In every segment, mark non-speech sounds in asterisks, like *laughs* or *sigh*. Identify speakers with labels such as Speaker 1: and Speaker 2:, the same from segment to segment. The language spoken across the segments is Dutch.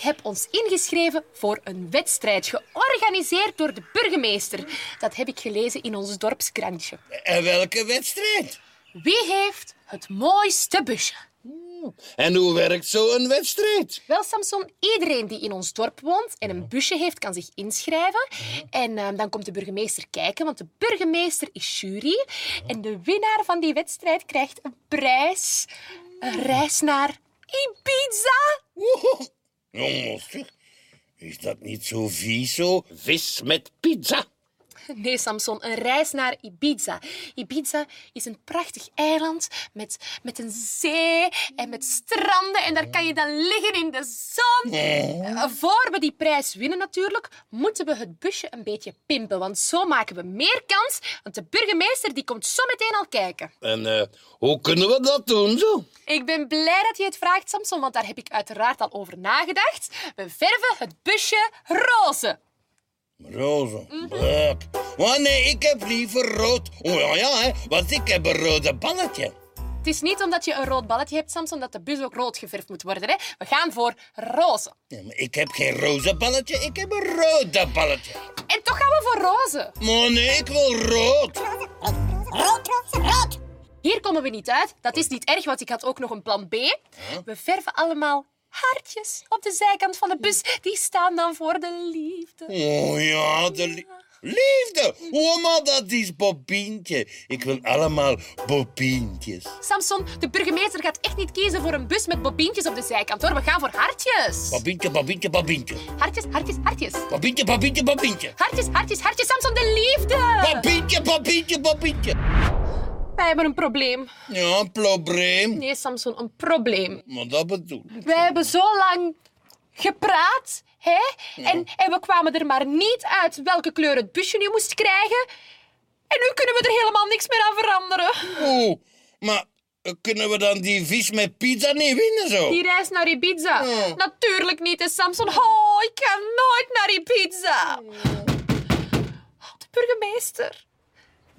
Speaker 1: heb ons ingeschreven voor een wedstrijd georganiseerd door de burgemeester. Dat heb ik gelezen in ons dorpskrantje.
Speaker 2: En welke wedstrijd?
Speaker 1: Wie heeft het mooiste busje?
Speaker 2: En hoe werkt zo'n wedstrijd?
Speaker 1: Wel, Samson, iedereen die in ons dorp woont en een busje heeft, kan zich inschrijven. En ehm, dan komt de burgemeester kijken, want de burgemeester is jury. En de winnaar van die wedstrijd krijgt een prijs. Een reis naar Ibiza.
Speaker 2: Jongens, zeg, is dat niet zo vies zo? Vis met pizza.
Speaker 1: Nee, Samson, een reis naar Ibiza. Ibiza is een prachtig eiland met, met een zee en met stranden. En daar kan je dan liggen in de zon.
Speaker 2: Mm.
Speaker 1: Eh, Voor we die prijs winnen natuurlijk, moeten we het busje een beetje pimpen. Want zo maken we meer kans, want de burgemeester die komt zo meteen al kijken.
Speaker 2: En eh, hoe kunnen we dat doen zo?
Speaker 1: Ik ben blij dat je het vraagt, Samson, want daar heb ik uiteraard al over nagedacht. We verven het busje roze.
Speaker 2: Roze, leuk. Maar nee, ik heb liever rood. Oh ja, ja, hè, want ik heb een rode balletje.
Speaker 1: Het is niet omdat je een rood balletje hebt, Samson, dat de bus ook rood geverfd moet worden. Hè? We gaan voor roze.
Speaker 2: Ja, maar ik heb geen roze balletje, ik heb een rode balletje.
Speaker 1: En toch gaan we voor roze.
Speaker 2: Maar nee, ik wil rood.
Speaker 1: Hier komen we niet uit. Dat is niet erg, want ik had ook nog een plan B. We verven allemaal hartjes op de zijkant van de bus. Die staan dan voor de liefde.
Speaker 2: Oh ja, de lie- liefde. Oh, maar dat is Bobientje. Ik wil allemaal Bobientjes.
Speaker 1: Samson, de burgemeester gaat echt niet kiezen voor een bus met bobientjes op de zijkant, hoor. We gaan voor hartjes.
Speaker 2: Bobientje, Bobientje, Bobientje.
Speaker 1: Hartjes, hartjes, hartjes.
Speaker 2: Bobientje, Bobientje, Bobientje.
Speaker 1: Hartjes, hartjes, hartjes, Samson, de liefde.
Speaker 2: Bobientje, Bobientje, Bobientje.
Speaker 1: Wij hebben een probleem.
Speaker 2: Ja, een probleem.
Speaker 1: Nee, Samson, een probleem.
Speaker 2: Maar dat bedoel ik.
Speaker 1: Wij hebben zo lang gepraat, hè? En, en we kwamen er maar niet uit welke kleur het busje nu moest krijgen. En nu kunnen we er helemaal niks meer aan veranderen.
Speaker 2: Oeh, maar eh, kunnen we dan die vis met pizza niet winnen zo?
Speaker 1: Die reis naar Ibiza.
Speaker 2: Ja.
Speaker 1: Natuurlijk niet, hè, Samson. Oh, ik ga nooit naar Ibiza. Oh, de burgemeester.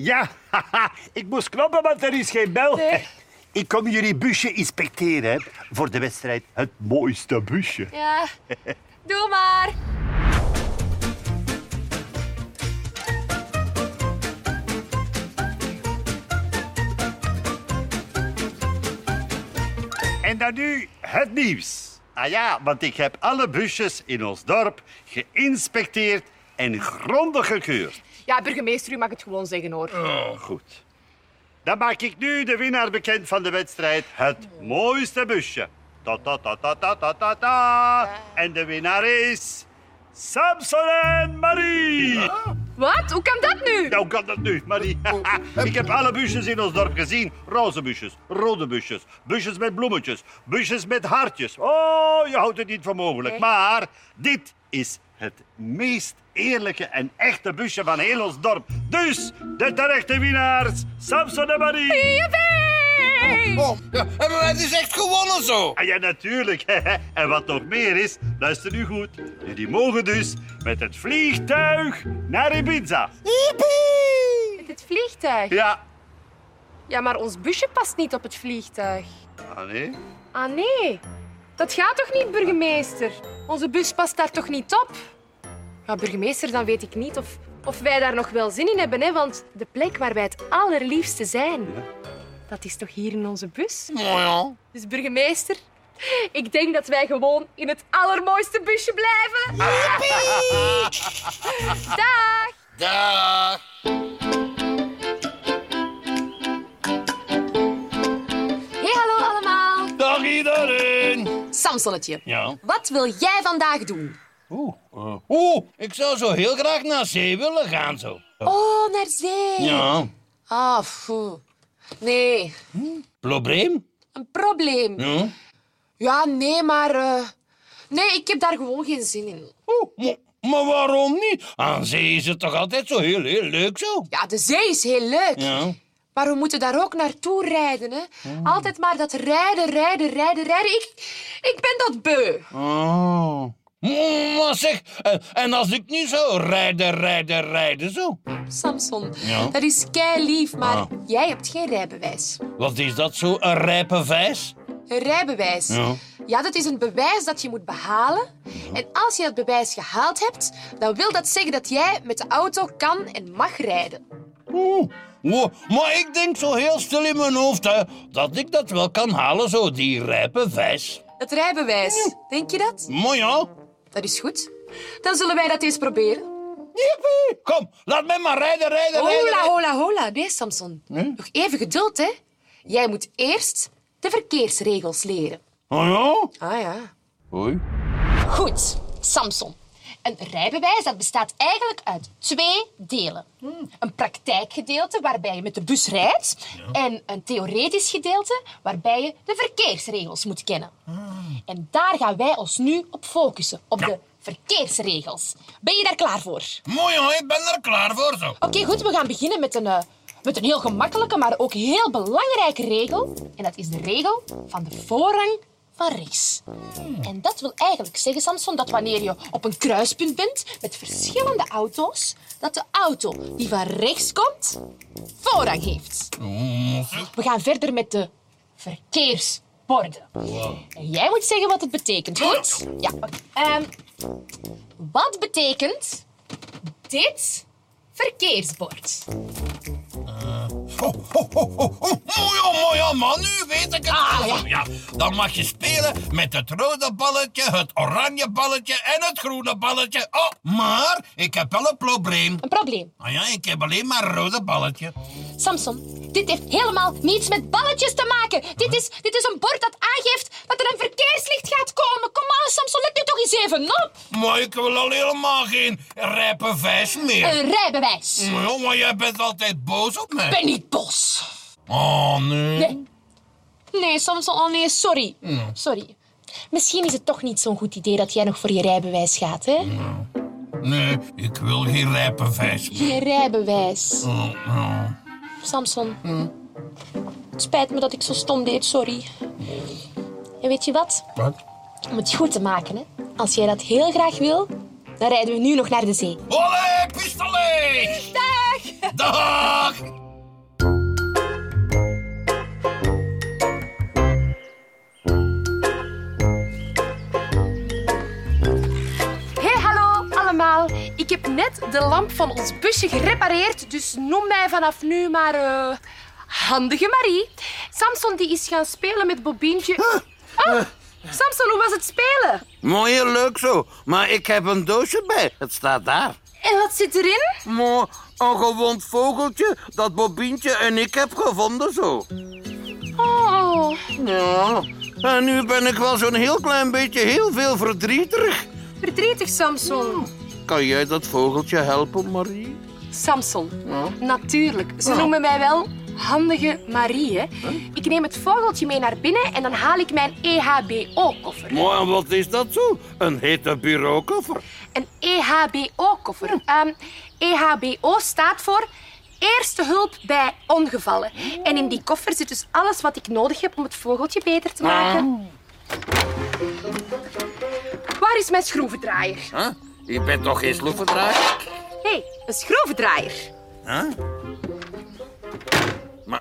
Speaker 3: Ja, haha, ik moest kloppen, want er is geen bel.
Speaker 1: Nee.
Speaker 3: *laughs* Ik kom jullie busje inspecteren hè, voor de wedstrijd Het Mooiste Busje.
Speaker 1: Ja, doe maar.
Speaker 3: En dan nu het nieuws. Ah ja, want ik heb alle busjes in ons dorp geïnspecteerd en grondig gekeurd.
Speaker 1: Ja, burgemeester, u mag het gewoon zeggen, hoor.
Speaker 3: Goed. Dan maak ik nu de winnaar bekend van de wedstrijd Het Mooiste Busje. Ta ta ta ta ta ta ta ta. En de winnaar is... Samson en Marie!
Speaker 1: Wat? Hoe kan dat nu?
Speaker 3: Nou kan dat nu, Marie. *laughs* ik heb alle busjes in ons dorp gezien. Roze busjes, rode busjes, busjes met bloemetjes, busjes met hartjes. Oh, je houdt het niet voor mogelijk. Maar dit is het meest eerlijke en echte busje van heel ons dorp. Dus de terechte winnaars, Samson en Marie.
Speaker 1: Jee!
Speaker 2: Oh, ja, hebben wij dus echt gewonnen zo?
Speaker 3: Ah ja, natuurlijk. *laughs* En wat nog meer is, luister nu goed. Jullie mogen dus met het vliegtuig naar Ibiza.
Speaker 2: Yippie!
Speaker 1: Het vliegtuig.
Speaker 3: Ja.
Speaker 1: Ja, maar ons busje past niet op het vliegtuig.
Speaker 3: Ah nee?
Speaker 1: Ah nee, dat gaat toch niet, burgemeester? Onze bus past daar toch niet op? Ja, burgemeester, dan weet ik niet of, of wij daar nog wel zin in hebben, hè? want de plek waar wij het allerliefste zijn, dat is toch hier in onze bus?
Speaker 2: Nou ja.
Speaker 1: Dus burgemeester, ik denk dat wij gewoon in het allermooiste busje blijven. Dag!
Speaker 2: Dag.
Speaker 1: Hey, hallo allemaal.
Speaker 2: Dag iedereen.
Speaker 1: Samsonnetje,
Speaker 2: Ja.
Speaker 1: wat wil jij vandaag doen?
Speaker 2: Oeh. Oeh, ik zou zo heel graag naar zee willen gaan zo.
Speaker 1: Oh, naar zee.
Speaker 2: Ja.
Speaker 1: Ah, pfoe. Nee,
Speaker 2: Probleem?
Speaker 1: een probleem.
Speaker 2: Ja.
Speaker 1: Ja, nee, maar... eh, Nee, ik heb daar gewoon geen zin in.
Speaker 2: Oeh, maar, maar waarom niet? Aan zee is het toch altijd zo heel, heel leuk zo?
Speaker 1: Ja, de zee is heel leuk.
Speaker 2: Ja. Oh.
Speaker 1: Maar we moeten daar ook naartoe rijden, hè. Altijd maar dat rijden, rijden, rijden, rijden. Ik, ik ben dat beu.
Speaker 2: Oh. Mm, Maar zeg, en- en als ik nu zo rijden, rijden, rijden zo?
Speaker 1: Samson,
Speaker 2: Ja.
Speaker 1: dat is kei lief, maar
Speaker 2: Ah.
Speaker 1: jij hebt geen rijbewijs.
Speaker 2: Wat is dat zo, een rijpe vijs?
Speaker 1: Een rijbewijs.
Speaker 2: Ja.
Speaker 1: Ja, dat is een bewijs dat je moet behalen. En als je dat bewijs gehaald hebt, dan wil dat zeggen dat jij met de auto kan en mag rijden.
Speaker 2: Oeh. Wow, Maar ik denk zo heel stil in mijn hoofd hè, dat ik dat wel kan halen, zo die rijpe vijs.
Speaker 1: Het rijbewijs, denk je dat?
Speaker 2: Maar ja,
Speaker 1: Dat is goed. Dan zullen wij dat eens proberen.
Speaker 2: Jippie. kom, laat mij maar rijden, rijden, rijden.
Speaker 1: Hola, hola, hola. Nee, Samson. Nog even geduld, hè. Jij moet eerst de verkeersregels leren.
Speaker 2: Oh
Speaker 1: Ah ja.
Speaker 2: ja? Oei.
Speaker 4: Goed, Samson. Een rijbewijs dat bestaat eigenlijk uit twee delen. Een praktijkgedeelte waarbij je met de bus rijdt en een theoretisch gedeelte waarbij je de verkeersregels moet kennen. En daar gaan wij ons nu op focussen, op de verkeersregels. Ben je daar klaar voor?
Speaker 2: Mooi hoor, ik ben er klaar voor zo.
Speaker 4: Oké, goed, we gaan beginnen met een, eh, met een heel gemakkelijke, maar ook heel belangrijke regel. En dat is de regel van de voorrang van rechts. En dat wil eigenlijk zeggen, Samson, dat wanneer je op een kruispunt bent met verschillende auto's, dat de auto die van rechts komt, voorrang heeft. We gaan verder met de verkeersborden. En jij moet zeggen wat het betekent, goed? Ja. oké. Ehm, wat betekent dit verkeersbord?
Speaker 2: Ho, ho, ho, ho, ho. Mooi hoor, mooi hoor, man, nu weet ik het.
Speaker 4: Ah,
Speaker 2: wel. Dan mag je spelen met het rode balletje, het oranje balletje en het groene balletje. Oh, maar ik heb wel een probleem.
Speaker 4: Een probleem.
Speaker 2: Ah ja, ik heb alleen maar een rode balletje.
Speaker 4: Samson, dit heeft helemaal niets met balletjes te maken. Dit is, dit is een bord dat aangeeft dat er een verkeerslicht gaat komen. Kom aan, Samson, let nu toch eens even op.
Speaker 2: Maar ik wil al helemaal geen rijpe vijs meer.
Speaker 4: Een rijbewijs.
Speaker 2: Mooi, maar jij bent altijd boos op
Speaker 4: Ben
Speaker 2: mij.
Speaker 4: niet bos.
Speaker 2: Oh, nee.
Speaker 4: Nee. Nee, Samson, oh nee, sorry. Sorry. Misschien is het toch niet zo'n goed idee dat jij nog voor je rijbewijs gaat, hè?
Speaker 2: Nee, ik wil geen rijpe vijs meer.
Speaker 4: Je rijbewijs.
Speaker 2: Oh, oh.
Speaker 4: Samson. Het spijt me dat ik zo stom deed, sorry. En weet je wat?
Speaker 2: Wat?
Speaker 4: Om het goed te maken, hè? Als jij dat heel graag wil, dan rijden we nu nog naar de zee.
Speaker 2: Olé, pistolet! Dag! Dag!
Speaker 1: Hey, hallo allemaal. Ik heb net de lamp van ons busje gerepareerd, dus noem mij vanaf nu maar eh, handige Marie. Samson die is gaan spelen met Bobientje. Ah, Samson, hoe was het spelen?
Speaker 5: Mooi en leuk zo, maar ik heb een doosje bij. Het staat daar.
Speaker 1: En wat zit erin?
Speaker 5: Mooi, een gewond vogeltje dat Bobientje en ik heb gevonden zo.
Speaker 1: Oh,
Speaker 5: Ja, en nu ben ik wel zo'n heel klein beetje heel veel verdrietig.
Speaker 1: verdrietig Samson.
Speaker 5: Kan jij dat vogeltje helpen, Marie?
Speaker 1: Samson. Natuurlijk. Ze noemen mij wel handige Marie. Hè? Ik neem het vogeltje mee naar binnen en dan haal ik mijn E EHBO-koffer.
Speaker 5: Mooi, en wat is dat zo? Een hete bureaukoffer.
Speaker 1: Een E EHBO-koffer. Ehm, EHBO staat voor Eerste Hulp bij Ongevallen. En in die koffer zit dus alles wat ik nodig heb om het vogeltje beter te maken. Waar is mijn schroevendraaier?
Speaker 5: Huh? Je bent toch geen sloevendraaier?
Speaker 1: Hé, hey, een schroevendraaier.
Speaker 5: Maar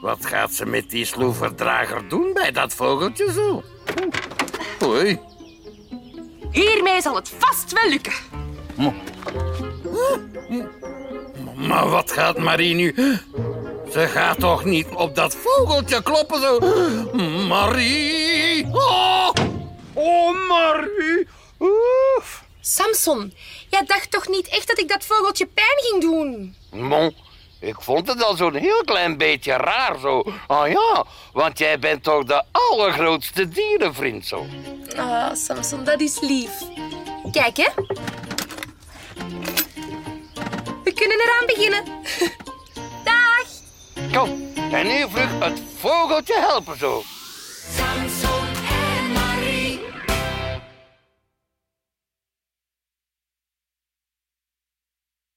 Speaker 5: wat gaat ze met die sloeverdrager doen bij dat vogeltje zo? Oei.
Speaker 1: Hiermee zal het vast wel lukken.
Speaker 5: Maar wat gaat Marie nu? Ze gaat toch niet op dat vogeltje kloppen zo? Marie! Oh, oh Marie! Oef.
Speaker 1: Samson, jij dacht toch niet echt dat ik dat vogeltje pijn ging doen?
Speaker 5: Mon, ik vond het al zo'n heel klein beetje raar zo. Ah ja, want jij bent toch de allergrootste dierenvriend zo.
Speaker 1: Ah, Samson, dat is lief. Kijk, hè. We kunnen eraan beginnen. *laughs* Dag.
Speaker 5: Kom, en nu vlug het vogeltje helpen zo.